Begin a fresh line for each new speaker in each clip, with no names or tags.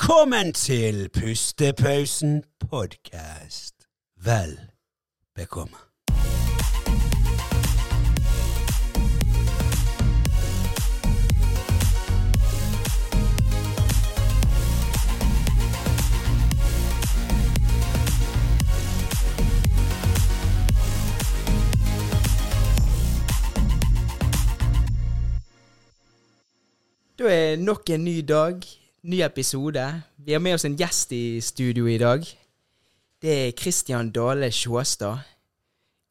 Velkommen til Pustepausen podkast. Vel bekomme.
Da er nok en ny dag, ny episode. Vi har med oss en gjest i studio i dag. Det er Kristian Dale Sjåstad.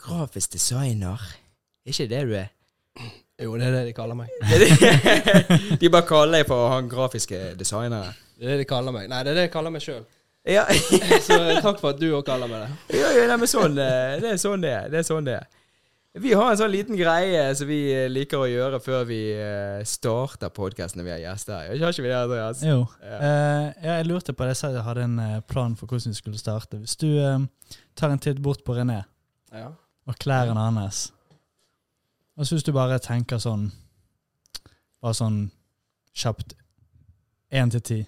Grafisk designer. Er ikke det du er?
Jo, det er det de kaller meg.
De bare kaller deg for han grafiske designeren.
Det er det de kaller meg. Nei, det er det jeg kaller meg sjøl.
Ja,
Så eh, takk for at du òg kaller meg det.
ja, ja nei, men sånn, eh, det er sånn det er. Det er sånn det er. Vi har en sånn liten greie som vi eh, liker å gjøre før vi eh, starter podkasten når vi har gjester. Har ikke vi det, Andreas?
Jo.
Ja.
Eh, ja, jeg lurte på det. Jeg sa jeg hadde en eh, plan for hvordan vi skulle starte. Hvis du eh, tar en titt bort på René
Ja.
og klærne hans, og så hvis du bare tenker sånn Bare sånn kjapt én til ti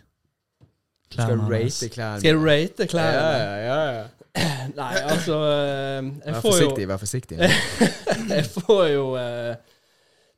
Skal
Klærne
du
hans.
rate klærne?
Skal du rate
Ja,
klærne?
ja, ja. ja.
Nei, altså eh,
Vær
Jeg får jo,
forsiktig, vær forsiktig.
jeg får jo eh,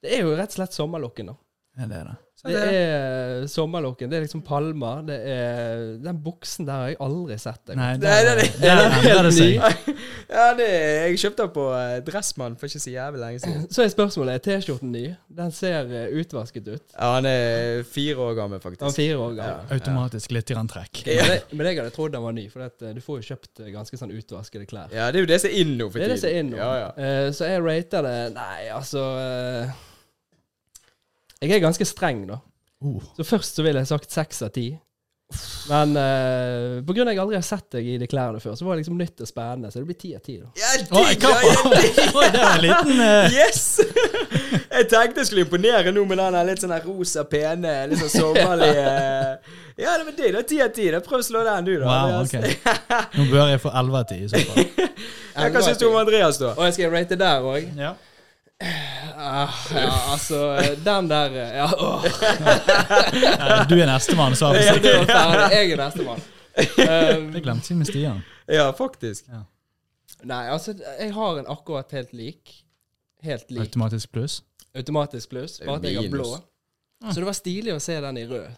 Det er jo rett og slett sommerlokken, da.
Ja, det er det.
Det er eh, sommerlokken. Det er liksom palmer. Det er Den buksen der har jeg aldri sett. Jeg.
Nei,
Nei,
der,
nei,
der, endrer det seg.
Ja, det, jeg kjøpte den på eh, Dressmann for ikke så jævlig lenge siden.
Så er spørsmålet er T-skjorten ny. Den ser eh, utvasket ut.
Ja, Han er fire år gammel, faktisk.
Den er fire år
Ja.
gammel.
Automatisk litt grann trekk.
Ja.
Men, jeg- men jeg hadde trodd den var ny, for at, eh, du får jo kjøpt eh, ganske sånn utvaskede klær.
Ja, det er jo det som er inn nå for
Det er det som er
tiden.
innom.
Ja, ja.
Eh, så jeg rater det Nei, altså eh, Jeg er ganske streng, da.
Oh.
Så først så ville jeg sagt seks av ti. Men eh, på grunn av at jeg aldri har sett deg i de klærne før, så var det liksom nytt og spennende. Så det blir ti av ti, da.
Ja,
Oi,
digg!
hva?
Ja, ja,
Oi, det var en liten eh,
yes! Jeg tenkte jeg skulle imponere nå med den her litt sånn her rosa, pene, litt sånn sommerlige Ja, det var digg. Det var ti av ti. da. Prøv å slå den, du, da.
Wow,
Andreas.
ok. Nå bør jeg få elleve av ti, i så fall.
Ja, Hva syns du om Andreas, da?
Og jeg skal rate der òg.
Ja.
ja, altså eh, Den der eh, Ja, åh.
Eh, Du er nestemann, sa
Så
jeg.
du var ferdig. Jeg er nestemann.
Jeg
Uh,
glemte til med Stian.
Ja, faktisk.
nei, altså, jeg har en akkurat helt lik. Helt lik.
Automatisk pluss.
automatisk pluss,
er jo
bare at jeg har blå.
minus.
Så det var stilig å se den i rød.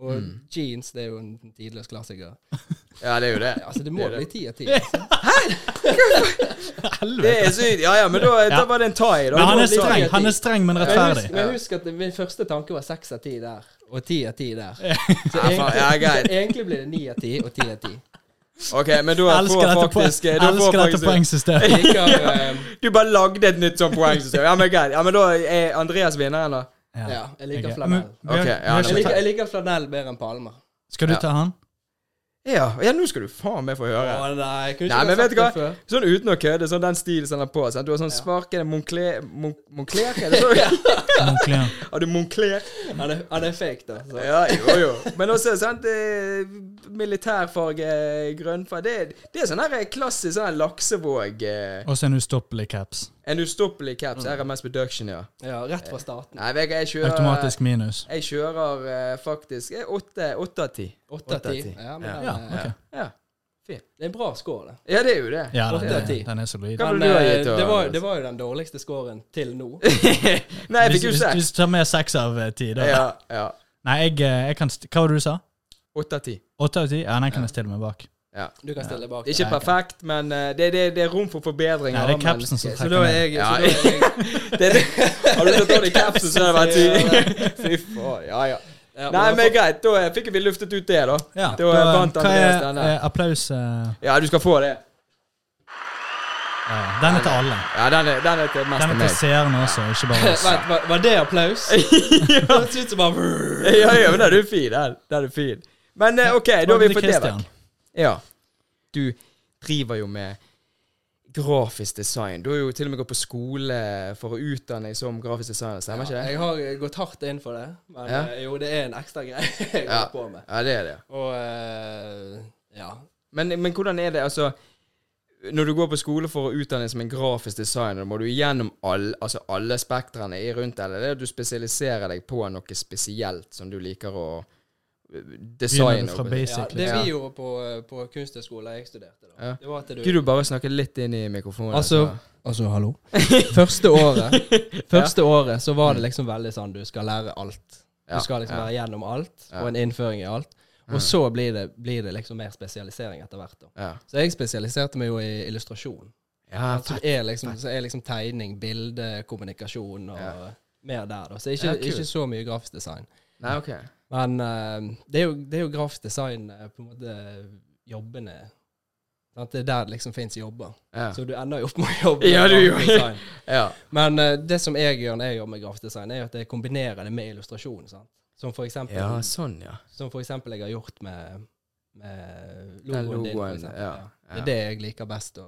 Og jeans det er jo en tidløs klassiker.
Mm. Ja, det er jo det.
Altså, det må
Det er det.
bli ti av ti. altså.
Det er sykt. Ja, ja, men da, da var det en thai. Da.
Men han
Da
er
blir-
streng, han er streng men
Men husk,
rettferdig.
men husk at det- min første tanke var seks av ti der, og ti av ti der. Så
Ja, faen, ja, greit.
egentlig, egentlig blir det ni av ti og ti av ti.
Ok, men du
Jeg
har
elsker dette,
får
poeng,
faktisk du får
elsker dette
faktisk-
poengsystemet.
Jeg Liker, eh,
Du bare lagde et nytt sånt poengsystem. Ja, men greit. Ja, men da er Andreas vinneren, da.
ja, jeg liker
ok.
flanell.
Men vi har-
Ok,
vi har
ja,
Jeg
ikke-
liker, jeg liker flanell bedre enn palmer.
Skal du ta han?
Ja, ja nå skal du faen meg få høre.
Å nei, jeg kunne
Nei,
ikke
men
sagt
vet du hva?
det før.
Sånn uten å kødde, sånn den stilen som han har på. Sant? Du har sånn sparkende Moncler Mon- Moncler? er det sånn?
Munkelig, ja.
Har du Moncler?
Han er, han er fake, da. Så.
Ja, jo, jo. Men også sant, eh, militærfarge, eh, grønnfarge Det, det er sånn her klassisk sånn her laksevåg. eh,
Og så en ustoppelig caps.
En ustoppelig
Mm.
caps, RMS Production, ja.
Ja, rett fra starten.
Nei, Vegard, jeg kjører
Automatisk minus.
Jeg kjører eh, faktisk eh, åtte åtte av ti.
Åtte av ti.
åtte av ti.
Ja, men
Ja.
den
Ja,
er-
ok.
Ja.
Det er en bra score, det.
ja, det er jo det.
Ja,
Åtte
den,
av ti.
er- den er solid.
Hva
Men
ville du ha gitt, altså.
eh,
da,
det, var,
Anders?
det var jo den dårligste scoren til nå.
Nei, jeg
Hvis,
fikk jo
hvis,
seks.
hvis du tar med seks av eh, ti, da.
Ja, ja.
Nei, jeg, eh, jeg kan st Hva var det du sa?
Åtte av ti.
Åtte av ti? Ja, den kan jeg stille meg bak.
Du kan stille deg bak.
Ikke
Nei, ok.
perfekt, men eh, det, det, det er rom for forbedringer.
Nei, det er
men-
capsen som
Så
trekker
da er
ned.
jeg,
Ja,
så da er jeg
Det er det. Har du tatt av deg capsen, så har det vært ti. Fy faen. Ja, ja.
ja,
Nei,
men
men greit. Da eh, fikk vi luftet ut det, da.
Ja,
Da eh, vant
hva
Andreas
er
denne.
eh, applaus? eh,
Ja, du skal få det.
ja, den er til alle.
Ja, den er, den er til mest
Den
til
er til
meg.
seerne også, ikke bare oss.
Vent, var, var det applaus? Det Hørtes ut som bare
Ja, ja, men den er fin. Den, den er fin. Men eh, OK, da har vi
Til
fått det vekk.
Christian.
Ja. Du driver jo med grafisk design. Du har jo til og med gått på skole for å utdanne deg som grafisk designer, stemmer ikke det?
Jeg har eh, gått hardt inn for det, men
Ja.
eh, jo, det er en ekstra greie jeg
Ja.
holder på med.
Ja, det er det.
Og eh, ja.
Men, men hvordan er det, altså når du går på skole for å utdanne deg som en grafisk designer, må du gjennom all, altså alle spektrene i rundt deg, eller er det at du spesialiserer deg på noe spesielt som du liker å design.
Begynner du fra
og-
basic,
det
liksom.
vi gjorde på, eh, på kunsthøgskolen jeg studerte, da,
Ja.
det var at du
Kunne du bare snakke litt inn i mikrofonen?
Altså- Altså, hallo. Første året Første året så var det liksom veldig sånn du skal lære alt. Du
Ja,
skal liksom
ja.
være gjennom alt,
Ja.
og en innføring i alt.
Ja.
Og så blir det, blir det liksom mer spesialisering etter hvert. da.
Ja,
Så jeg spesialiserte meg jo i illustrasjon.
ja
Som er liksom, så er liksom tegning, bilde, kommunikasjon og
Ja.
mer der. da. Så ikke,
Ja, kult.
ikke så mye grafisk design.
Nei, ok.
Men eh, det, er jo, det er jo grafisk design eh, på en måte jobbene sant? Det er der det liksom fins jobber.
Ja.
Så du ender jo opp med å jobbe
Ja,
med
du
grafisk
gjør-
design.
Ja.
Men eh, det som jeg gjør når jeg jobber med grafisk design, er at jeg kombinerer det med illustrasjon. Sant? Som, for eksempel,
ja, sånn, ja.
som for eksempel jeg har gjort med, med
Den
logoen, din. For
logoen,
eksempel,
ja,
ja. Det
ja.
er det jeg liker best, å,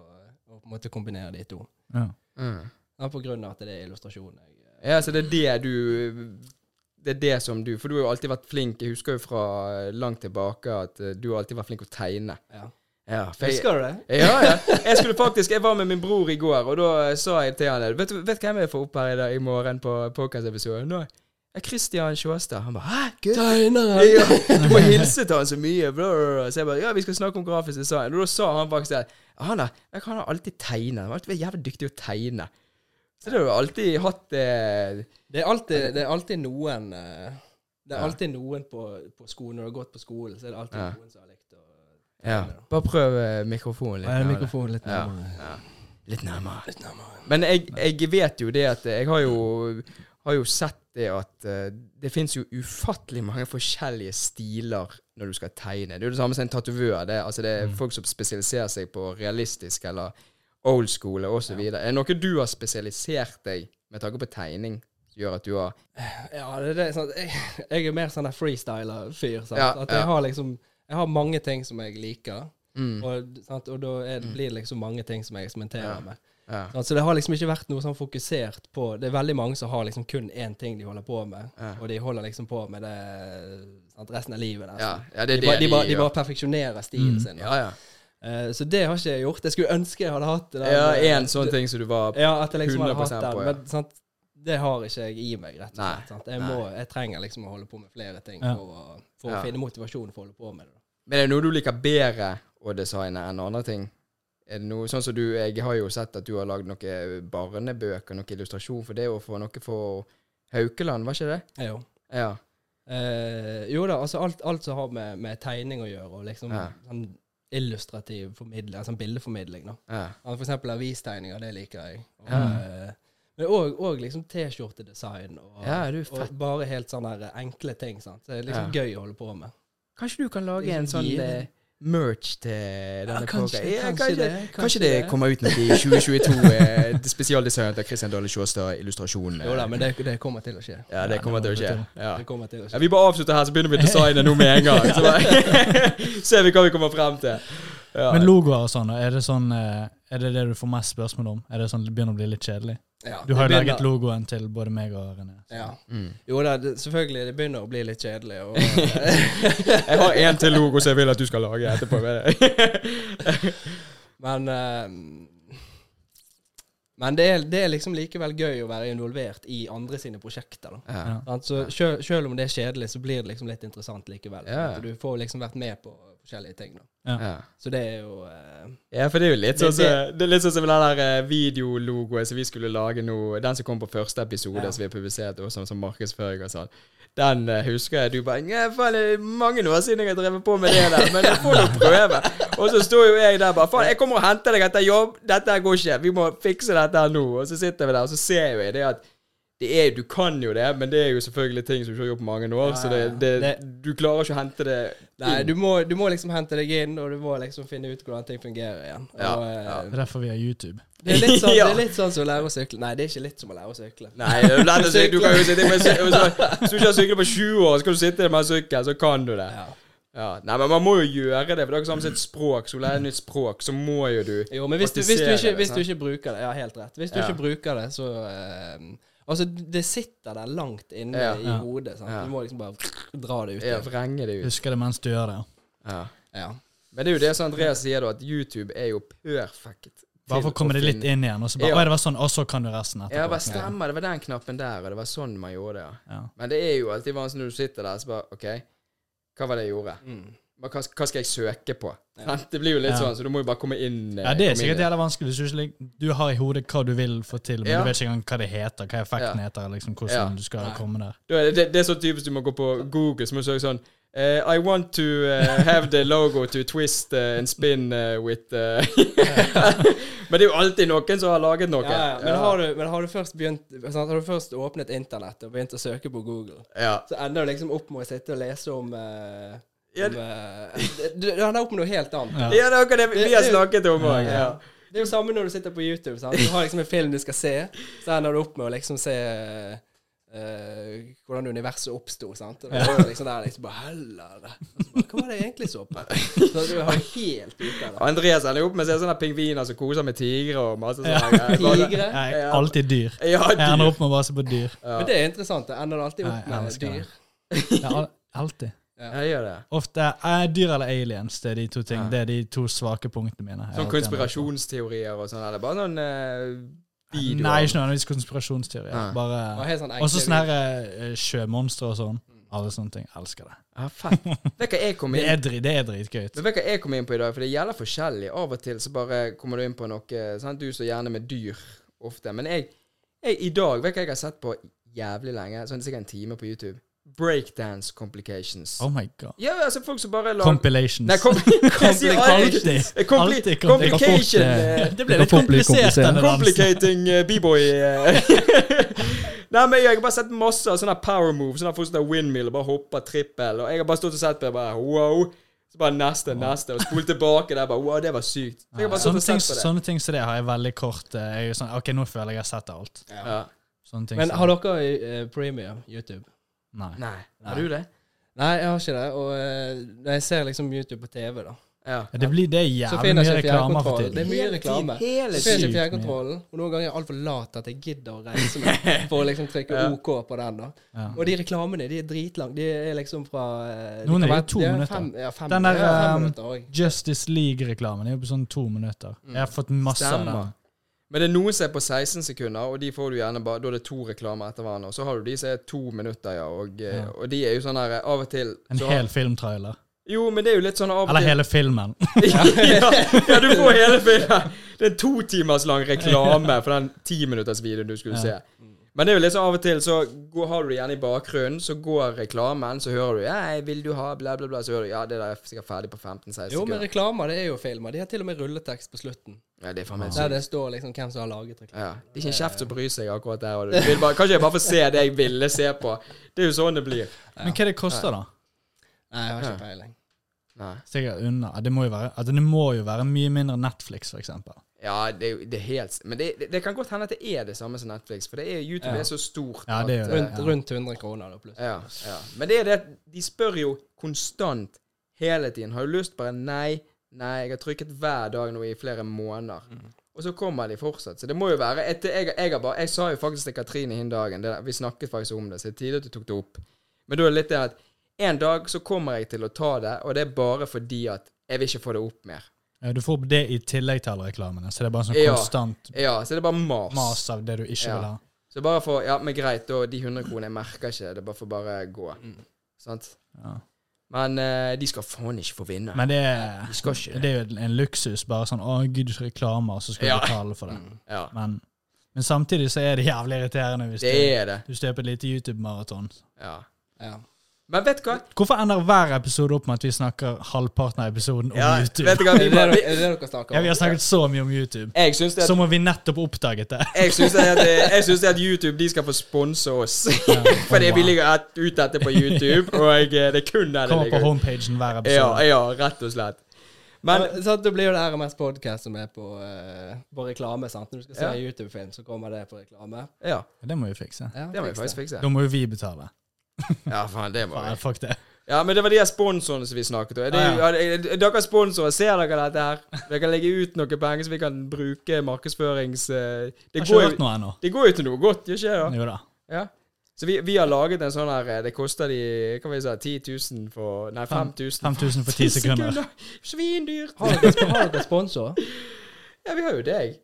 å på en måte kombinere de to.
Ja.
Mm.
Ja, på grunn av at det er illustrasjon. Jeg,
Ja, så det er det du Det er det som du For du har jo alltid vært flink. Jeg husker jo fra eh, langt tilbake at eh, du har alltid vært flink å tegne.
ja.
Ja, for jeg,
Husker du det?
ja, ja. Jeg skulle faktisk Jeg var med min bror i går, og da eh, sa jeg til han Vet du vet du hvem jeg får opp her i, dag, i morgen på podkast-episoden? Nå er Christian Sjåstad. Han bare 'hæ, gutt?'
Tegneren!
Ja, du må hilse til han så mye. Bla, bla, bla. Så jeg bare Ja, vi skal snakke om grafisk design. Og da sa han faktisk det. Han, er, jeg, han har alltid tegnet. Han har alltid vært jævlig dyktig å tegne. Så det har du alltid hatt eh,
Det er alltid, det er alltid noen eh, Det er
Ja.
alltid noen på, på skolen. Når du har gått på skolen, så er det alltid
Ja.
noen som har likt å
Ja. Bare prøv eh, mikrofonen litt. nærmere.
mikrofonen litt
Ja.
nærmere.
Litt nærmere.
Litt nærmere.
Men jeg, jeg vet jo det at Jeg har jo, har jo sett det at eh, det fins jo ufattelig mange forskjellige stiler når du skal tegne. Det er jo det samme som en tatovør. Det, er- altså det er
Mm.
folk som spesialiserer seg på realistisk eller old school osv. videre Er det noe du har spesialisert deg med tanke på tegning? som Gjør at du har
Ja, det er det, sånn, at jeg, jeg er mer sånn der freestyler-fyr. sant?
Ja,
at jeg
ja.
har liksom Jeg har mange ting som jeg liker,
mm,
og, sant? og da er, det- blir det liksom mange ting som jeg eksperimenterer
Ja.
med.
ja,
Sant? Så det har liksom ikke vært noe sånn fokusert på Det er veldig mange som har liksom kun én ting de holder på med,
Ja.
og de holder liksom på med det sant? resten av livet. nesten.
ja, ja, det er
Altså, De,
det
bare, de, bare, de
gjør.
bare perfeksjonerer stilen sin. da.
Ja, ja.
Eh, så det har ikke jeg gjort. Jeg skulle ønske jeg hadde hatt det. der
Ja,
med-
en sånn ting som du var
Ja, at jeg liksom har
100%
hatt den.
på, ja.
Men sant? det har ikke jeg i meg, rett og
Nei,
slett. Sant? Jeg,
nei.
må, jeg trenger liksom å holde på med flere ting
Ja.
for, å, for
Ja.
å finne motivasjon for å holde på med det. da.
Men er det noe du liker bedre å designe enn andre ting? Er det noe, sånn som du, Jeg har jo sett at du har lagd noen barnebøker, noen illustrasjon for det, og for noe for Haukeland, var ikke det?
Jo.
Ja.
Eh, jo da, altså alt, alt som har med, med tegning å gjøre, og liksom
Ja.
sånn illustrativ formidling, altså bildeformidling, da.
ja.
Ja, For eksempel avistegninger, det liker jeg. Og,
Ja.
eh, men òg og liksom T-skjortedesign, og,
Ja, du er
og
fett.
bare helt sånne her enkle ting. sant? Så det er liksom gøy å holde på med.
Kanskje du kan lage
Liksom
en sånn
gi-
eh, merch til denne
kanskje-
podcasten? Ja,
kanskje
kanskje,
det, kanskje
kanskje det
det.
kommer ut noe i 2022. eh, Spesialdesignet av Christian Dale Sjåstad, illustrasjon. eh.
Jo da, men det, det kommer til å skje.
Ja, det kommer til å skje. Ja.
Det kommer til å
Ja,
skje.
vi bare avslutter her, så begynner vi å designe nå med en gang. Så bare, ser vi hva vi kommer frem til. Ja.
Men logoer og sånn, da, er det sånn eh, Er det det du får mest spørsmål om? Er det sånn det begynner å bli litt kjedelig?
Ja,
Du har
det
jo
begynner-
laget logoen til både meg og René.
Ja.
Mm.
Jo da, det, selvfølgelig, det begynner å bli litt kjedelig. Og, eh,
Jeg har én til logo som jeg vil at du skal lage etterpå. med deg.
men eh, men det, er, det er liksom likevel gøy å være involvert i andre sine prosjekter. da.
Ja.
Sant? Så sjøl, sjøl om det er kjedelig, så blir det liksom litt interessant likevel.
Ja.
At Du får liksom vært med på forskjellige ting. Da.
Ja.
Så det er jo eh,
ja, for det er jo litt sånn
Det-
som- det er litt sånn som den der eh, videologoen som vi skulle lage nå, den som kom på første episode
Ja.
som vi har publisert, og sånn som markedsføring og sånn. Den eh, husker jeg du bare «Nja, faen, det er mange år siden jeg har drevet på med det der, men jeg får nå prøve. Og så står jo jeg der bare Faen, jeg kommer og henter deg etter jobb, dette her går ikke, vi må fikse dette her nå. Og så sitter vi der, og så ser jo jeg det at det er, du kan jo det, men det er jo selvfølgelig ting som du ikke har gjort på mange år, så det, det,
Det-
du klarer ikke å hente det
Nei,
Mm.
du må, du må liksom hente deg inn, og du må liksom finne ut hvordan ting fungerer igjen.
Ja,
og, eh,
Det er derfor vi har YouTube.
Det, er litt sånn,
Ja.
det er litt sånn som å lære å sykle. Nei, det er ikke litt som å lære å sykle.
Nei, det er lett å si- du kan jo sitte med sy- så- Hvis du ikke har syklet på 20 år, så kan du sitte med en sykkel, så kan du det.
Ja.
Ja. Nei, men man må jo gjøre det, for det er jo samme som et språk. Skal du lære et nytt språk, så må jo du
Jo, men hvis du, hvis, du
praktisere
ikke,
det,
hvis du
sant?
ikke bruker det Ja, helt rett. Hvis du
Ja.
ikke bruker det, så eh, Altså, det sitter der langt inne
Ja.
i
Ja.
hodet. Sant?
Ja.
Du må liksom bare dra det ut.
ja,
igjen.
vrenge det ut.
Husker det mens du gjør det.
Ja.
Ja.
Men det er jo det som Andreas sier, da, at YouTube er jo perfekt.
Bare for å komme det litt inn igjen. Og så bare,
Ja.
«Oi, det var sånn, og så kan du resten
Ja, bare
etterpå.
stemmer, det var den knappen der, og det var sånn man gjorde det. ja.
Ja.
Men det er jo alltid vanskelig når du sitter der, så bare OK. Hva var det jeg gjorde?
Mm.
Hva, hva hva skal jeg søke på? Sant? Det blir jo litt
Ja.
sånn, så du må jo bare komme inn. eh,
Ja, Det er
komme
sikkert
inn i-
jævla vanskelig. hvis Du, ikke, lik- du har i hodet hva du vil få til, men
Ja.
du vet ikke engang hva det heter, hva effekten
Ja.
heter, liksom, hvordan
Ja.
du skal
Nei.
komme der.
Da er det, det, det er så typisk du må gå på Google, så må du søke sånn eh, I want to eh, have the logo to twist eh, and spin eh, with eh." Men det er jo alltid noen som har laget noe.
Ja, ja. Men, har du, men har du først begynt sant, Har du først åpnet internett og begynt å søke på Google,
ja.
så ender du liksom opp med å sitte og lese om, eh,
Ja,
om eh, Du du ender opp med noe helt annet.
Ja.
Ja, det er akkurat det vi- vi har
Det- det-
snakket om òg.
Ja. Det er jo samme når du sitter på YouTube. Sant? Du har liksom en film du skal se, så ender du opp med å liksom se eh, hvordan universet oppsto. sant? Og da var det liksom der liksom bare Heller Hva var det jeg egentlig så på? Så du har helt ute av det.
Andreas ender jo opp med å se sånne pingviner som koser med tigre og masse sånne greier. Bare-
Tigre.
Jeg
Ja.
er alltid dyr.
Ja,
Jeg ender
dyr.
opp med å bare se på dyr.
Men det er interessant. Det ender alltid
Nei,
opp
jeg
med
elsker det.
dyr.
Jeg er al- alltid.
Jeg gjør det. Sånn
Ofte er dyr eller aliens, det er de to ting.
Ja.
Det er de to svake punktene mine. Jeg er
Sånn
alltid ender opp med.
konspirasjonsteorier og sånn, eller bare sånn eh, videoer.
Nei, ikke nødvendigvis konspirasjonsteorier.
Nei.
Og
Bare
helt sånn
Også
enkle-
sånne her, eh, sjømonstre og sånn. Alle sånne ting. Elsker det.
Ja, fett. Ah, Vet du hva jeg kom
Det
inn
er, dri, det er dritgøy.
Men vet du hva jeg kom inn på i dag? For det gjelder forskjellig. Av og til så bare kommer du inn på noe sant? Du så gjerne med dyr ofte. Men jeg, jeg i dag Vet du hva jeg har sett på jævlig lenge? Sånn sikkert en time på YouTube. Breakdance complications.
Oh my god.
Ja, altså folk som bare lag...
Compilations.
Nei, kom... jeg sier aldri-
Alltid.
Compli-
Alltid kom-
Complication.
Det
eh,
kan fort, eh, ble litt komplisert, denne dansen.
Complicating eh, b-boy. eh. Nei, men Jeg har bare sett masse av sånne power moves. Sånne folk som tar windmill og bare hopper trippel. Og jeg har bare stått og sett på det bare wow. Så bare neste, neste. Og spole tilbake der. bare Wow, det var sykt. Så jeg har bare
Ah, Sånne
stått og
ting,
sett på det.
sånne ting som det har jeg veldig kort eh, jeg er jo sånn, Ok, nå føler jeg jeg har sett alt.
Ja.
Sånne ting
Men
liksom-
som-
har dere eh, premium YouTube?
Nei.
Nei. Har du det?
Nei, jeg har ikke det. Og eh, når jeg ser liksom YouTube på TV, da,
Ja.
Ja, Det, blir, det er
så
jævlig
finner
mye
jeg ikke
reklame for
fjernkontrollen. Det
tiden.
er mye reklame.
Hele
Så finner jeg
Sykt
ikke
mye.
fjernkontrollen, og noen ganger er jeg altfor lat at jeg gidder å reise meg for å liksom trykke
Ja.
OK på den. da.
Ja.
Og de reklamene de er dritlange. De er liksom fra eh, de
Noen
kan
er jo
være-
to
de er
minutter.
Fem, ja, fem,
Den der,
ja, fem
um,
minutter også.
Justice League-reklamen er jo på sånn to minutter. Jeg har fått masse av
Stemmer.
den.
Men det er noen som er på 16 sekunder, og de får du gjerne bare, da er det to reklamer etter hverandre. Og så har du de som er to minutter, ja. Og, eh,
Ja.
og de er jo sånn her eh, av og til
En
så har-
hel filmtrailer.
Jo, men det er jo litt sånn av og
Eller
til
hele filmen.
ja, ja, du får hele filmen. Det er en to timers lang reklame for den timinuttersvideoen du skulle se. Men det er jo liksom av og til så går, har du det gjerne i bakgrunnen, så går reklamen, så hører du «Ei, 'Vil du ha bla, bla, bla', så hører du 'Ja, det der er sikkert ferdig på 15-16
Jo, men
sekunder'.
reklamer det er jo filmer. De har til og med rulletekst på slutten.
Ja, det er faen meg
Der
sykt.
det står liksom hvem som har laget reklamen.
Ja. Det er ikke en kjeft som bryr seg akkurat der. Og du vil bare, kanskje jeg bare får se det jeg ville se på. Det er jo sånn det blir.
Men hva det koster, da?
Nei, jeg har ikke peiling.
Nei.
Sikkert under. Det må jo være, altså, det må jo være mye mindre Netflix, for eksempel.
Ja, det, er jo- det er helt Men det, det, det kan godt hende at det er det samme som Netflix, for det er, YouTube er så stort.
Ja, det er jo
at,
det.
eh,
Rundt, rundt 100 kroner, da, plutselig.
Ja, ja. Men det er det at de spør jo konstant hele tiden. Har du lyst? Bare nei, nei. Jeg har trykket hver dag nå i flere måneder. Og så kommer de fortsatt. Så det må jo være etter, jeg, jeg, har bare, jeg sa jo faktisk til Katrine hin dagen det der, Vi snakket faktisk om det, så det er tidlig at du tok det opp. Men da er det litt det at en dag så kommer jeg til å ta det, og det er bare fordi at jeg vil ikke få det opp mer.
Ja, Du får det i tillegg til alle reklamene, så det er bare sånn
Ja.
konstant
Ja, så det er bare mas.
mas av det du ikke
Ja.
vil ha.
Så bare for Ja, men greit, da. De 100 kronene, jeg merker ikke. Det er bare for bare gå. Sant?
Ja.
Men eh, de skal faen ikke få vinne.
Men det er,
De skal ikke
det er jo en luksus. Bare sånn 'Å, gud, reklamer', så skal
Ja. Mm.
du betale for det.
Ja,
Men, men samtidig så er det jævlig irriterende hvis
det
du,
er det.
du står på et lite YouTube-maraton.
Ja.
Ja.
Men vet du hva?
Hvorfor ender hver episode opp med at vi snakker halvparten av episoden om
Ja,
YouTube?
vet du hva?
Er
Vi
det
bare,
det,
vi,
er det dere snakker
Ja,
om?
vi har snakket så mye om YouTube.
jeg syns det at,
Som om vi nettopp oppdaget det.
jeg syns det at, eh, jeg syns det at YouTube de skal få sponse oss. Fordi vi ligger et, ute etter på YouTube, og eh, det er kun der det
Kommer på
ligger.
homepagen hver
Ja,
episode.
ja, rett og slett. Men
Men sant, det blir jo det RMS Podcast som er på, eh, på reklame. sant? Når du skal se
Ja.
en YouTube-film, så kommer det på reklame.
ja,
Det må vi fikse.
Ja,
det må vi
fiks
faktisk fikse.
Da må jo vi betale.
Ja, faen, det må
Faen,
vi.
fuck det.
Ja, men det var de her sponsorene som vi snakket om. Det
Ah,
er jo- ja, det- Dere sponsorer, ser dere dette her? Dere kan legge ut noe penger så vi kan bruke markedsførings... eh,
Jeg
Det
har ikke
går
hørt
jo,
noe ennå.
det går jo til noe godt, gjør ikke det? da?
Jo da.
Ja. Så vi, vi har laget en sånn her eh, Det koster de hva var det jeg sa, 10 000 for Nei,
Fem-
5000
5000 for 10 sekunder.
Svindyrt.
Har dere, har dere sponsor?
Ja, vi har jo deg.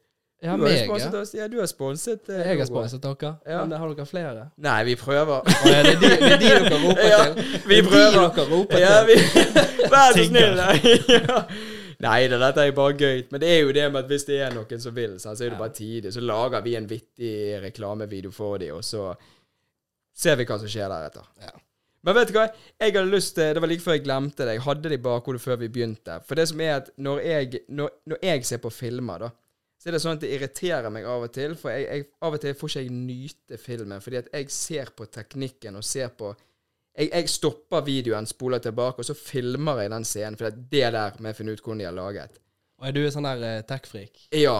Ja,
du har
meg,
jo sponset
ja.
oss. Ja, du har sponset. eh,
Jeg har
logoen.
sponset dere.
Ja.
Men har dere flere?
Nei, vi prøver.
Å, ja, det, er de, det er de dere roper
Ja,
til.
vi
Det er
prøver.
De dere roper
Ja,
til.
vi, vær så
Tigger.
snill. Nei, ja. Nei da, dette er jo bare gøy. Men det er jo det med at hvis det er noen som vil, sant, så er det bare tidlig. Så lager vi en vittig reklamevideo for dem, og så ser vi hva som skjer deretter.
Ja.
Men vet du hva? Jeg hadde lyst til, Det var like før jeg glemte det. Jeg hadde det i bakhodet før vi begynte. For det som er at når jeg, når, når jeg ser på filmer, da, så er det sånn at det irriterer meg av og til. For jeg, jeg, av og til får ikke jeg nyte filmen, fordi at jeg ser på teknikken og ser på jeg, jeg stopper videoen, spoler tilbake, og så filmer jeg den scenen. For det er det der må jeg finne ut hvordan de har laget.
Og er du en sånn der eh, tech-freak?
Ja.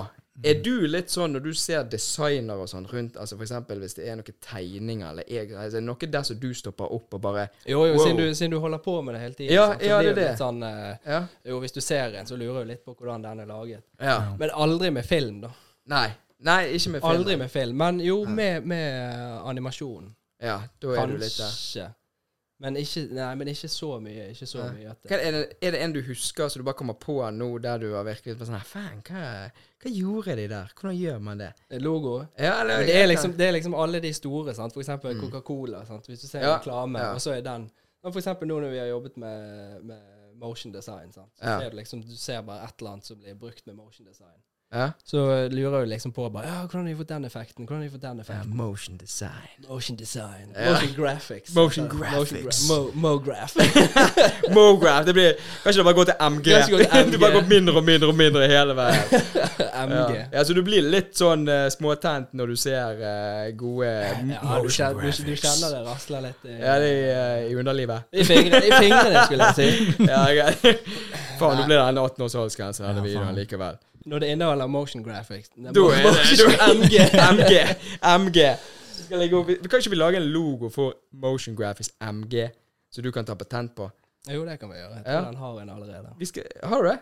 Er du litt sånn når du ser designer og sånn rundt, altså for eksempel hvis det er noen tegninger eller jeg, altså noe der som du stopper opp og bare
Jo, jo,
Wow.
siden, du, siden du holder på med det hele tiden.
Ja,
sant, så
ja,
blir
det er
litt Sånn, eh,
Ja.
jo, hvis du ser en, så lurer du litt på hvordan den er laget.
ja.
Men aldri med film, da.
Nei. Nei, ikke med film.
Aldri med film. Men jo, med, med eh, animasjon.
Ja, da er du litt der.
Kanskje. Men ikke, nei, men ikke så mye. Ikke så
Nei.
mye at
Hva er, det, er det en du husker så du bare kommer på nå, der du har virkelig bare sånn Faen, hva, hva gjorde de der? Hvordan gjør man det?
det, logo
Ja, eller
Men det er, liksom, det er liksom alle de store, sant? for eksempel Coca-Cola. Sant? Hvis du ser
Mm. Ja,
en reklame,
ja.
og så er den Men For eksempel nå når vi har jobbet med, med motion design, sant? så
Ja.
ser du liksom Du ser bare et eller annet som blir brukt med motion design.
ja.
Så eh, lurer du liksom på bare, ja, hvordan har de fått den effekten? Hvordan har de fått den
Ja,
effekten?
Motion design.
Motion design.
Ja.
Motion graphics.
Motion
Ja, gra-
graphics.
Mo, mo graph.
Mograph. Det blir Kanskje det bare går til MG.
Kanskje det går til MG.
Du bare går mindre og mindre og mindre hele veien.
MG.
Ja. ja, Så du blir litt sånn eh, småtent når du ser eh, gode
Ja, du,
Motion
kjenner, du, du
graphics.
kjenner det rasler litt i,
Ja, det er eh, i underlivet.
i, fingrene, i fingrene, skulle jeg si.
Ja, greit. Faen, nå blir det en 18-årsholdsgrense i denne
Ja,
videoen
faen.
likevel. eh,
Når det inneholder motion graphics. Nei,
Da er det da er-
MG.
MG. MG. Skal jeg gå, vi- kan ikke vi lage en logo for Motion Graphics MG, som du kan ta patent på?
Jo, det kan vi gjøre. Jeg
Ja.
tror den har en allerede.
Vi skal, har du det?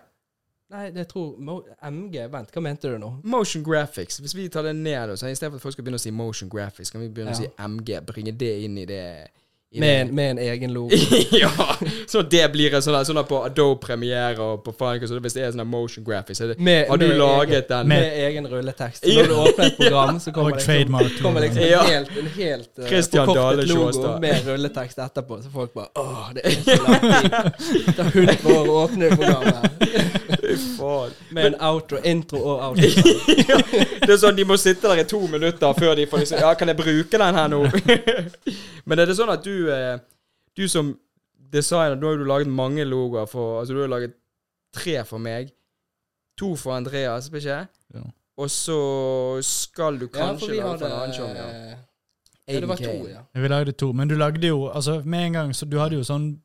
Nei, det tror Mo MG Vent, hva mente du nå?
Motion Graphics. Hvis vi tar det ned, og så istedenfor at folk skal begynne å si Motion Graphics, kan vi begynne å
Ja.
si MG. Bringe det inn i det i
Med
det-
en, med en egen logo.
ja! Så det blir en sånn der- sånn der på Adobe Premiere og på faen ikke, så hvis det er sånn der motion graphics så er det,
Med,
Har du
med
laget
egen,
den?
Med egen rulletekst. Så
Ja.
Når du åpner et program, så kommer
Og
det
trademark-logo.
liksom, kommer liksom
Ja.
en helt, en helt eh,
Christian Dahle
forkortet logo
Sjåstad.
med rulletekst etterpå. Så folk bare Åh, det er så lang tid. Det tar 100 år å åpne det programmet.
Faen.
Med en outro, intro og outro.
Det er sånn, De må sitte der i to minutter før de får liksom Ja, kan jeg bruke den her nå? Men er det sånn at du eh, Du som designer, nå har jo du laget mange logoer for Altså, du har jo laget tre for meg. To for Andreas, ikke sant?
Ja.
Og så skal du
Ja,
kanskje
for vi
lage for en annen
hadde
sjåfør. Ja.
Ja, det var to,
Aiden Kane.
ja.
Vi lagde to, men du lagde jo altså med en gang, så du hadde jo sånn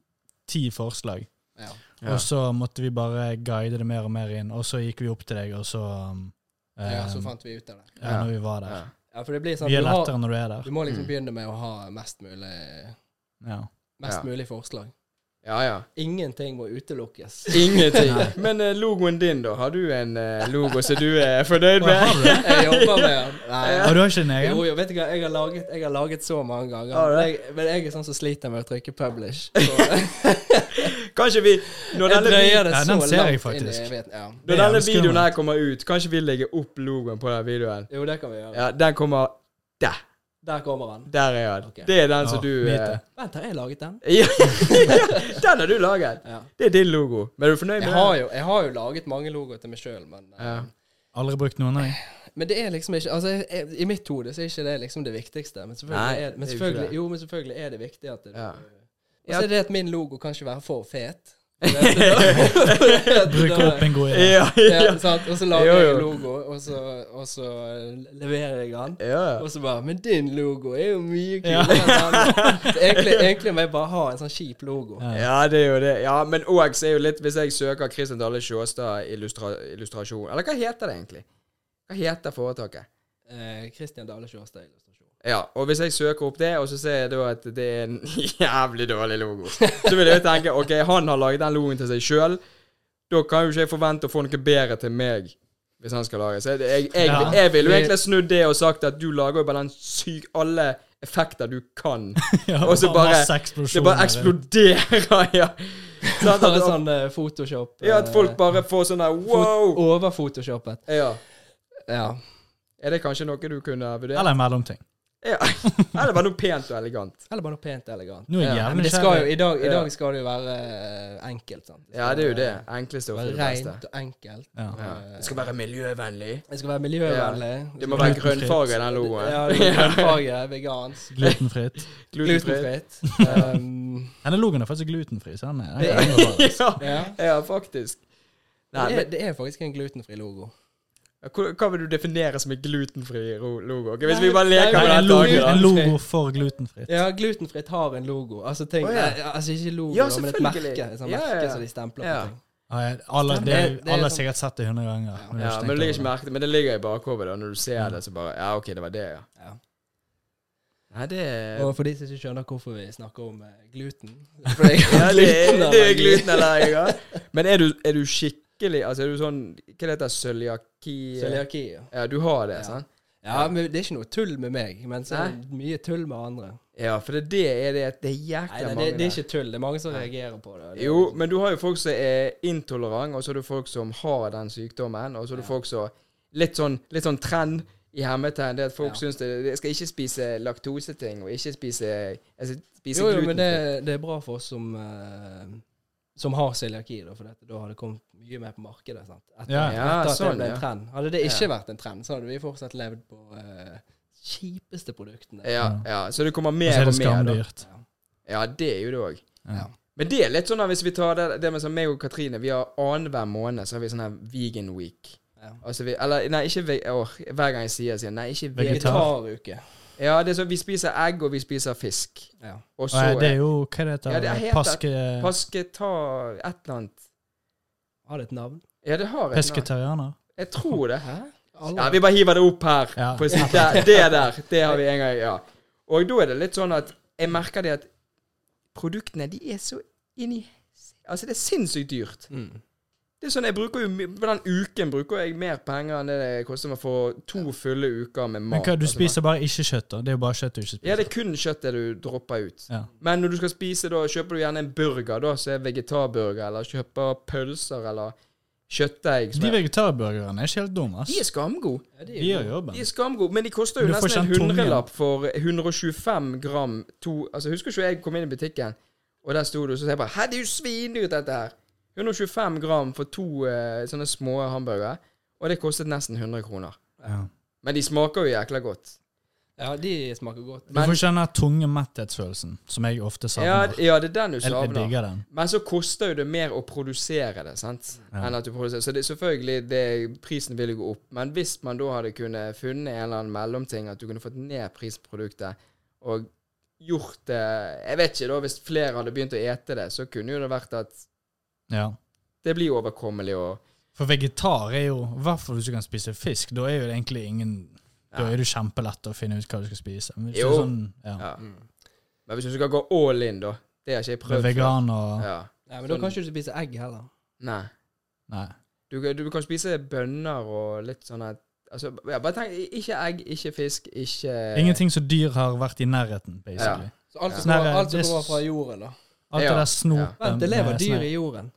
ti forslag.
ja.
Ja.
Og så måtte vi bare guide det mer og mer inn, og så gikk vi opp til deg, og så um,
Ja, så
um,
fant vi ut av det.
ja, når vi var der.
Ja.
Ja, for det blir sånn
Vi er
du har-
lettere når du er der.
Du må liksom
Mm.
begynne med å ha mest mulig
Ja.
Ja.
Mest mulig forslag.
ja, ja.
Ingenting må utelukkes.
Ingenting. Men eh, logoen din, da? Har du en eh, logo som du er fornøyd
Hva, har
med?
du det?
Jeg jobber med den. Nei.
Har du ikke en
Jo,
egen?
jo, vet du hva, jeg har laget, jeg har laget så mange ganger.
Har du
Men jeg, men jeg er sånn som sliter med å trykke publish. Så
Kanskje vi Når
jeg
denne,
drøyer det
Ja,
så
den ser jeg
langt inn i
faktisk.
evigheten. Ja.
når
Det er
denne
skummelt.
videoen her kommer ut, kanskje vi legger opp logoen på den videoen?
Jo, det kan vi gjøre.
Ja, den kommer der.
Der kommer han.
Der er den.
Ok.
Det er den som
Ja,
du
mitt,
eh,
Vent, har jeg laget den?
ja, Den har du laget.
Ja.
Det er din logo. Men er du fornøyd med
Jeg
den?
har jo, jeg har jo laget mange logoer til meg sjøl, men,
Ja.
eh,
Aldri brukt noen, nei.
men det er liksom ikke altså, jeg, jeg, I mitt hode så er ikke det liksom det viktigste. Men selvfølgelig,
Nei,
er,
det er jo
men
ikke
selvfølgelig,
det.
jo, men selvfølgelig er det viktig at det,
Ja.
Og så er det at min logo kan ikke være for fet.
Bruker opp en god idé.
Ja, ja.
Ja, sant? Og så lager
Jo, jo.
jeg en logo, og så, og så eh, leverer jeg den.
ja.
Og så bare Men din logo er jo mye kulere enn den andre." Så Egentlig, egentlig må jeg bare ha en sånn kjip logo.
Ja, det er jo det. Ja, Men òg er jo litt Hvis jeg søker Christian Dale Sjåstad illustra illustrasjon Eller hva heter det egentlig? Hva heter foretaket?
Eh, Christian Dale Sjåstad illustrasjon.
Ja, og hvis jeg søker opp det, og så ser jeg da at det er en jævlig dårlig logo, så vil jeg jo tenke ok, han har laget den logoen til seg sjøl, da kan jo ikke jeg forvente å få noe bedre til meg. Hvis han skal lage Så jeg, jeg, jeg,
Ja.
jeg ville jo egentlig snudd det og sagt at du lager jo bare den syk alle effekter du kan.
Ja,
Og så bare-
masse
Det bare
eksplosjoner.
eksploderer, ja. Sånn
Bare
at,
sånn eh, Photoshop.
ja, at folk
eh,
bare får sånn der
fot-
wow.
Overphotoshoppet.
Ja.
Ja.
Er det kanskje noe du kunne vurdert?
Eller en mellomting.
ja. Eller bare noe pent og elegant.
Eller bare noe pent og elegant.
Nå er jeg
Ja,
jævlig
Men det skal jo,
nysgjerrig.
i dag, i
Ja.
dag skal det jo være eh, enkelt, sant?
Ja, det er jo det. Enkleste
Det
og
skal
det
være
beste.
rent og enkelt. Eh,
Ja.
Ja. Det skal være miljøvennlig.
Det skal være miljøvennlig.
Det må være
Glutenfritt.
grønnfarge i den logoen.
Ja, det er grønnfarge, vegansk,
Glutenfritt.
Glutenfritt.
glutenfritt. Um,
Denne logoen er faktisk glutenfri. så den er-
Det
den er bra.
ja,
ja.
ja, faktisk. Nei,
det, er,
men
det er faktisk en glutenfri logo.
hva, hva vil du definere som en glutenfri ro- logo? Ok, hvis
Nei,
vi bare leker
Nei,
med
en
den
logo,
tanken. da.
en logo for glutenfritt.
Ja, glutenfritt har en logo. Altså, ting,
Å, ja.
eh, altså ikke logo,
Ja,
da, men et
selvfølgelig.
merke. Et sånt
Ja,
merke
ja, ja.
som de stempler
Ja.
på ting.
Ja, alle
Det-
det, er-
det er
alle har
sånn-
sikkert sett det hundre ganger. du
Ja,
har
men
ikke
du
tenkt
legger ikke
over det.
merke til Men det ligger i bakhodet da, når du ser det, så bare Ja, OK, det var det, Mm. ja.
Ja.
Nei, det er
Og for de som ikke skjønner hvorfor vi snakker om eh, gluten For det er
ja, det, er, det er
glutenallergi.
glutenallergiker. Men er du, er du skikkelig Altså, er du sånn Hva det heter det? Cøliaki?
Cøliaki. Ja.
Ja, du har det,
Ja.
sant?
ja, men det er ikke noe tull med meg, men så er det mye tull med andre.
Ja, for det, det er det Det er
Nei,
jækla
det, det,
mange
det er
der.
ikke tull. Det er mange som reagerer på det. det er liksom- sånn.
Jo, men du har jo folk som er intolerant, og så har du folk som har den sykdommen, og så har du
Ja.
folk som Litt sånn, litt sånn trend i hermetegn, det at folk
Ja.
syns det Jeg skal ikke spise laktoseting, og ikke spise Jeg skal spise
jo, jo, men
glutenfritt.
det, det er bra for oss som, eh, som har cøliaki, da, for dette, da har det kommet mye mer på markedet. sant? Etter,
Ja.
Ja,
etter at
sånn,
det ble
ja.
en trend. Hadde det ikke
Ja.
vært en trend, så hadde vi fortsatt levd på eh, kjipeste produktene.
Ja, ja, så det kommer
Og så
mer
er
og
det
mer. Da.
skamdyrt.
Ja, det er jo det òg.
Ja.
Men det er litt sånn at hvis vi tar det, det med sånn meg og Katrine Vi har annenhver måned så har vi sånn her vegan week.
Ja.
Altså vi, eller nei, ikke ve åh, hver gang jeg sier det, sier jeg, nei, ikke vegetar.
Vegetar.
Vegetaruke.
Ja, det er sånn, vi spiser egg, og vi spiser fisk.
Ja.
Og så
Nei, det er jo Hva det heter
Ja, det er helt-
Paske,
Pasketar... Et eller annet.
Har det et navn?
Ja, det har jeg. nå.
Pesketarianer?
Jeg tror det.
Hæ?
Ja, vi bare hiver det opp her.
Ja.
På, si- det, det der, det har vi en gang, ja. Og da er det litt sånn at jeg merker det at produktene, de er så inn i Altså, det er sinnssykt dyrt.
Mm.
Det er sånn, jeg bruker jo, my- På den uken bruker jeg mer penger enn det det koster meg for to fulle uker med
Men
mat.
hva, du
altså.
spiser bare ikke kjøtt, da? Det er jo bare kjøtt du ikke
Ja,
spiser.
det er kun kjøttet du dropper ut.
Ja.
Men når du skal spise, da kjøper du gjerne en burger, da, som er vegetarburger, eller kjøper pølser, eller kjøttdeig. som
De
er-
vegetarburgerne er ikke helt dumme,
De
ass.
er skamgode.
Ja, det
De gjør jobben.
De er skamgode, men de koster jo
Men du får
nesten en
ikke en tung
hundrelapp for 125 gram to Altså, husker ikke jeg kom inn i butikken, og der sto du, så sa jeg bare Hæ, det er jo svindyrt, dette her! 125 gram for to eh, sånne små hamburgere, og det kostet nesten 100 kroner.
Ja.
Men de smaker jo jækla godt.
Ja, de smaker godt.
Du får ikke den der tunge metthetsfølelsen som jeg ofte
Ja,
savner.
d- ja, det er den du
Jeg, jeg
savner.
digger den.
Men så koster jo det mer å produsere det, sant?
Ja.
Enn at du produserer. Så det, selvfølgelig, det, prisen vil jo gå opp. Men hvis man da hadde kunnet funnet en eller annen mellomting, at du kunne fått ned prisen på produktet, og gjort det Jeg vet ikke, da, hvis flere hadde begynt å ete det, så kunne jo det vært at
Ja.
det blir overkommelig og
For vegetar er jo I hvert fall hvis du kan spise fisk. Da er jo det egentlig ingen Da
Ja.
er det kjempelett å finne ut hva du skal spise. Men hvis du
Jo.
er sånn, ja.
Ja.
Mm.
Men hvis du skal gå all in, da Det har ikke jeg
Med
prøvd. før.
vegan og
Ja. sånn-
Ja, men da kan ikke du spise egg heller.
Nei.
Nei.
Du, du kan spise bønner og litt sånn at Altså, ja, bare tenk Ikke egg, ikke fisk, ikke
Ingenting som dyr har vært i nærheten, basically.
Så alt som
Ja.
kommer- alt som
Nei, det-
kommer fra jorden, da.
Alt
Ja.
det der eh, snopet
Vent, det lever
med
dyr
snei.
i jorden.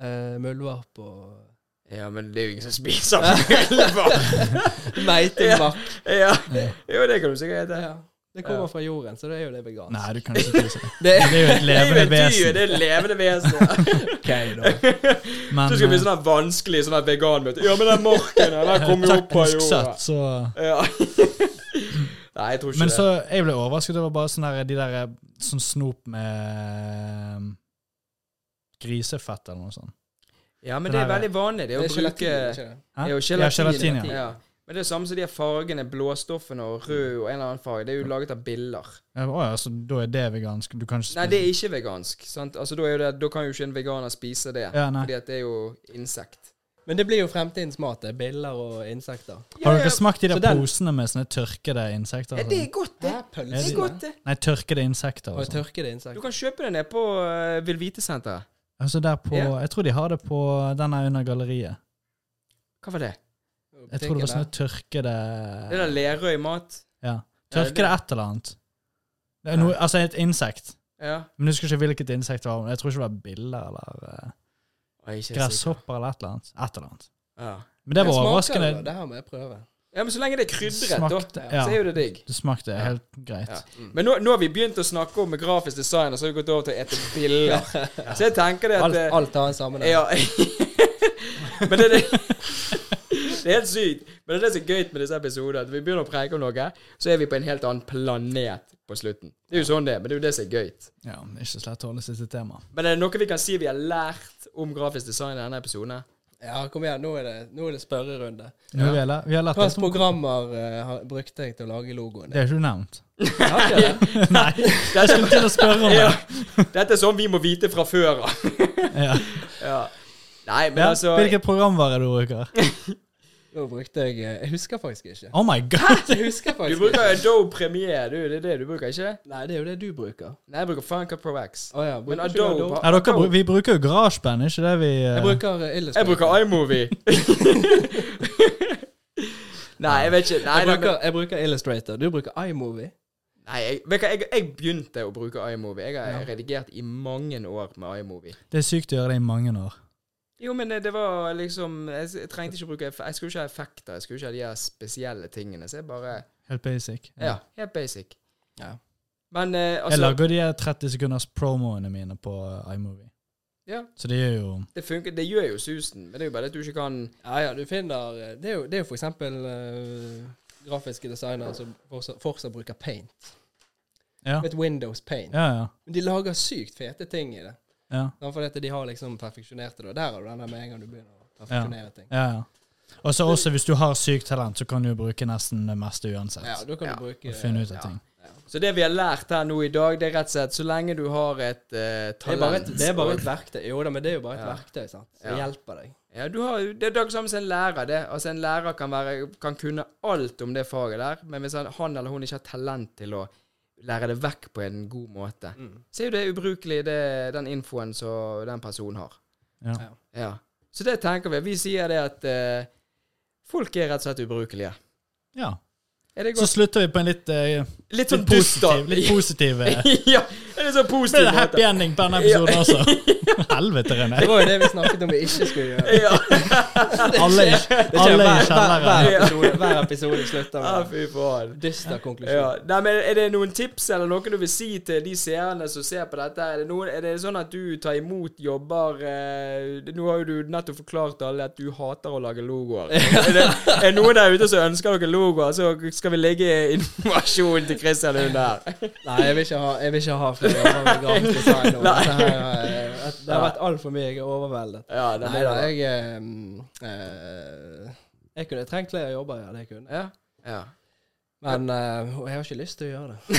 Uh, Muldvarp og
Ja, men det er jo ingen som spiser muldvarp.
Meitemakk.
ja.
Ja.
Jo, det kan du sikkert hete.
Ja. Det kommer fra jorden, så da er jo det vegansk.
Nei, du kan ikke spise det.
Det
Det er jo et
Det er jo
levende
et dyr,
vesen.
det er et levende vesen.
OK, da.
Men
Så skal det bli
eh,
sånn her vanskelig sånn her veganmøte. Ja, men den marken her, den kommer jo opp av
teknisk
jorda.
sett, så
Ja. Nei, jeg tror ikke
Men
det.
så jeg ble overrasket over bare sånn der, de der eh, sånn snop med eh, grisefett eller noe sånt.
Ja, men det er veldig vanlig, det å
Det er
bruke
gelatin, ikke det?
Hæ?
Ja,
Ja, gelatin, ja.
ja. Men det er det samme som de her fargene, blåstoffene og rød og en eller annen farge. Det er jo laget av biller.
Ja, Å ja, så da er det vegansk? Du kan ikke
Nei, det er ikke vegansk. sant? Altså, Da, er jo det, da kan jo ikke en veganer spise det,
Ja, nei.
fordi at det er jo insekt.
Men det blir jo fremtidens mat. det er Biller og insekter.
Har dere smakt de der
Så den-
posene med sånne tørkede insekter?
Ja,
og
det
sånn?
er godt, det.
pølse?
Det er godt, det.
Nei, tørkede insekter.
Og
Og sånn.
tørkede
Du
insekter.
kan kjøpe det ned på uh, Villvitesenteret.
Altså der på,
Ja.
Jeg tror de har det på den her under galleriet.
Hva var det?
Jeg tror det var sånne tørkede
Det der Lerøy-mat.
ja.
Ja, det-
Tørkede et eller annet. Det er noe, altså et insekt.
Ja.
Men jeg husker ikke hvilket insekt det var. men Jeg tror ikke det var biller eller eh,
Oi, ikke sikker.
gresshopper eller et eller annet. Et eller annet.
Ja.
Men
Men det var
smaker
overraskende.
Det, da? det her må jeg prøve.
ja, men så lenge det er krydret,
Smakte-
da,
ja.
så er jo det digg.
Det smakte helt greit.
Ja. Men nå, nå har vi begynt å snakke om grafisk design, og så har vi gått over til å ete biller. Så jeg tenker det at
Alt,
eh,
alt har en sammenheng.
Ja. Men det er det Det er helt sykt. Men det er det som er gøy med disse episodene. At vi begynner å preke om noe, så er vi på en helt annen planet på slutten. Det er jo sånn det er, men det er jo det som er gøy.
Ja, men ikke så lett å holde seg til tema.
Men er det noe vi kan si vi har lært om grafisk design i denne episoden?
Ja, kom igjen. Nå er det, nå er det spørrerunde.
Nå har vi lært- vi har lært
Hvilke
litt om-
programmer eh, har, brukte jeg til å lage logoen
Det
din?
er ikke du nevnt.
Har ikke det?
Nei, jeg skulle til å spørre om det.
Ja. Dette er sånn vi må vite fra før av.
Ja.
Ja. Nei, men
Ja.
altså
Hvilket program var det du bruker?
Nå brukte jeg eh, Jeg husker faktisk ikke.
Oh my god!
Jeg husker
Du
faktisk ikke.
bruker Adobe Premiere, du. Det er det du bruker, ikke?
Nei, det er jo det du bruker.
Nei, jeg bruker Funka Pro X.
Å ja.
Men
Bruker ikke du
Adobe
Adobe?
Ja, dere, bru- vi bruker jo GarageBand, ikke det vi eh,
Jeg bruker eh,
Jeg
Illustrator.
bruker iMovie. Nei, jeg vet ikke. Nei, da,
jeg
men-
bruker, jeg bruker Illustrator. Du bruker iMovie.
Nei, jeg, vet du hva, jeg, jeg begynte å bruke iMovie. Jeg har redigert i mange år med iMovie.
Det er sykt å gjøre det i mange år.
Jo, men eh, det var liksom Jeg, s- jeg trengte ikke å bruke eff- Jeg skulle ikke ha effekter. Jeg skulle ikke ha de her spesielle tingene. Så jeg bare
Helt basic.
Ja, helt basic.
Ja.
Men eh,
Jeg
altså
lager de her 30 sekunders promoene mine på eh, iMovie.
Ja.
Så det gjør jo
det, funker, det gjør jo susen, men det er jo bare det at du ikke kan
Ja, ja, du finner eh, Det er jo, det er jo for eksempel eh, grafiske designere som fortsatt, fortsatt bruker paint.
Ja,
Et Windows paint.
ja. ja.
Men de lager sykt fete ting i det.
ja.
Sant, For dette, de har liksom perfeksjonert det. og Der har du den der med en gang du begynner å perfeksjonere ting.
ja, ja. Og så også hvis du har sykt talent, så kan du jo bruke nesten det meste uansett.
Ja, da kan
Ja,
du bruke
og finne ut av
ja.
ting.
Så det vi har lært her nå i dag, det er rett og slett så lenge du har et eh,
Det er, bare
talent
et, det er bare
og-
et verktøy. Jo da, men det er jo bare et
Ja.
verktøy sant? som
Ja.
hjelper deg.
Ja, du har, det er det samme som en lærer. det. Altså En lærer kan, være, kan kunne alt om det faget der, men hvis han, han eller hun ikke har talent til å lære det vekk på en god måte,
Mm.
så er jo det ubrukelig, det, den infoen som den personen har.
Ja.
Ja. Så det tenker vi. Vi sier det at eh, folk er rett og slett ubrukelige.
ja.
Er det
Så
godt?
slutter vi på en litt, eh,
litt
litt
sånn dust, da.
positiv Litt positiv eh,
ja, en litt sånn
Blir
positiv
det happy ending på denne episoden også? Helvete, René.
Det var jo det vi snakket om vi ikke skulle gjøre.
Ja.
Alle, i-
Det skjer
alle i
hver, hver,
kjelleren.
hver, episode, hver episode slutter
ja,
med
fy faen.
en dyster konklusjon.
Ja. Nei, men Er det noen tips eller noe du vil si til de seerne som ser på dette? Er det, noen, er det sånn at du tar imot jobber eh, Nå har jo du nettopp forklart alle at du hater å lage logoer. Er det er det noen der ute som ønsker dere logoer, så skal vi legge informasjon til Christian under her.
Nei, jeg vil ikke ha, jeg vil ikke ha flere jobber med grafisk design. nå.
Nei.
Dette her, eh, Det har vært altfor mye. Jeg er overveldet.
Ja, det
Nei
er
da,
det.
jeg eh, mm, eh, Jeg kunne trengt flere jobber, ja. Det kunne jeg.
Ja. Ja.
Men eh, jeg har ikke lyst til å gjøre det.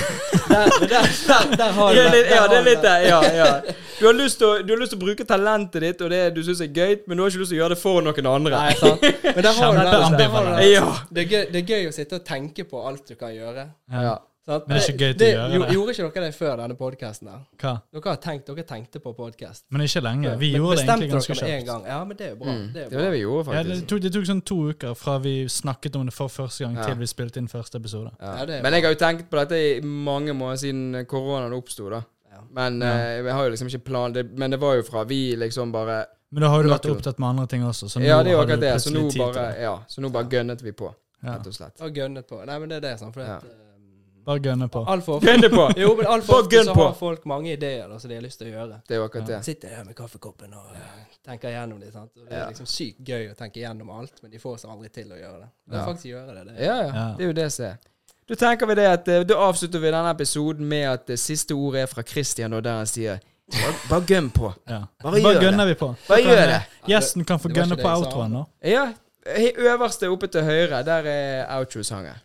Der, men der, der, der har du
Ja, det,
der
ja,
har
det er
du
litt det. Ja, ja. Du, har lyst til å, du har lyst til å bruke talentet ditt og det du syns er gøy, men du har ikke lyst til å gjøre det for noen andre.
Nei, sant. Men der har du det.
Kjempeambivalent.
Der har du det.
Ja.
Det, er gøy, det er gøy å sitte og tenke på alt du kan gjøre.
Ja.
Sant?
Men det er ikke gøy til å gjøre
jo-
det.
Gjorde ikke dere det før denne podkasten?
Hva?
Dere har tenkt, dere tenkte på podkast.
Men ikke lenge. Vi gjorde det egentlig ganske kjapt.
Gang. Ja, men det er jo bra. Det er
Mm. Det var
bra.
det vi gjorde,
Ja, det,
faktisk.
tok, det tok sånn to uker fra vi snakket om det for første gang,
Ja.
til vi spilte inn første episode.
Ja, det er
Men jeg har jo tenkt på dette i mange måneder siden koronaen oppsto, da.
Ja.
Men eh, jeg har jo liksom ikke plan det, Men det var jo fra vi liksom bare
Men da har jo du vært
Naturlig.
opptatt med andre ting også, så nå
Ja, det er jo
har du
akkurat det. Så nå
plutselig tid til
bare
det.
Ja, så nå bare gønnet vi på,
Ja.
rett og slett.
Og gønnet på. Nei, men det er det, sant. For
Ja.
at,
Bare gønne på.
eh, alt for ofte
Gønne på!
Jo, men alt for
Bare
ofte
gønn
så
på.
har folk mange ideer da, som de har lyst til å gjøre.
Det er jo akkurat det.
Sitter der med kaffekoppen og eh, tenker igjennom det. sant? Og det
Ja.
er liksom sykt gøy å tenke igjennom alt, men de får seg aldri til å gjøre det. Men
Ja.
faktisk gjøre det, det er
Ja, ja.
Ja.
Det er jo det som er. Da tenker vi det at eh, Da avslutter vi denne episoden med at det siste ordet er fra Christian, og der han sier Bare, bare gønn på.
Ja.
Bare
Bare,
gjør
gønner vi på.
Bare
Da kan,
gjør det.
eh, Gjesten kan få
Det var ikke
gønne
det
på
jeg sa.
outroen, da.
Ja. he- Øverste oppe til høyre, der er outro-sangen.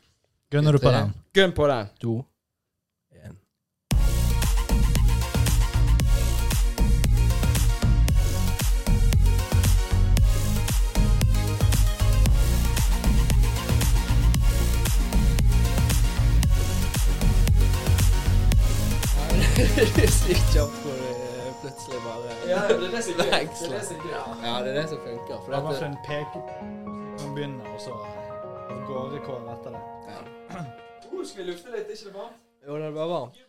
Gønner du på
Det-
den?
Gønn på den.
To, en. Sykt kjapt hvor det plutselig bare
Ja, det er det som er gøy. Det er det som er gøy.
Ja, det er det som funker. For eh,
Det var
dette,
for en pek som begynner, og så av gårde kår etter det.
ja.
Oh, skal vi lufte litt? Er ikke det varmt?
Jo, det var varmt.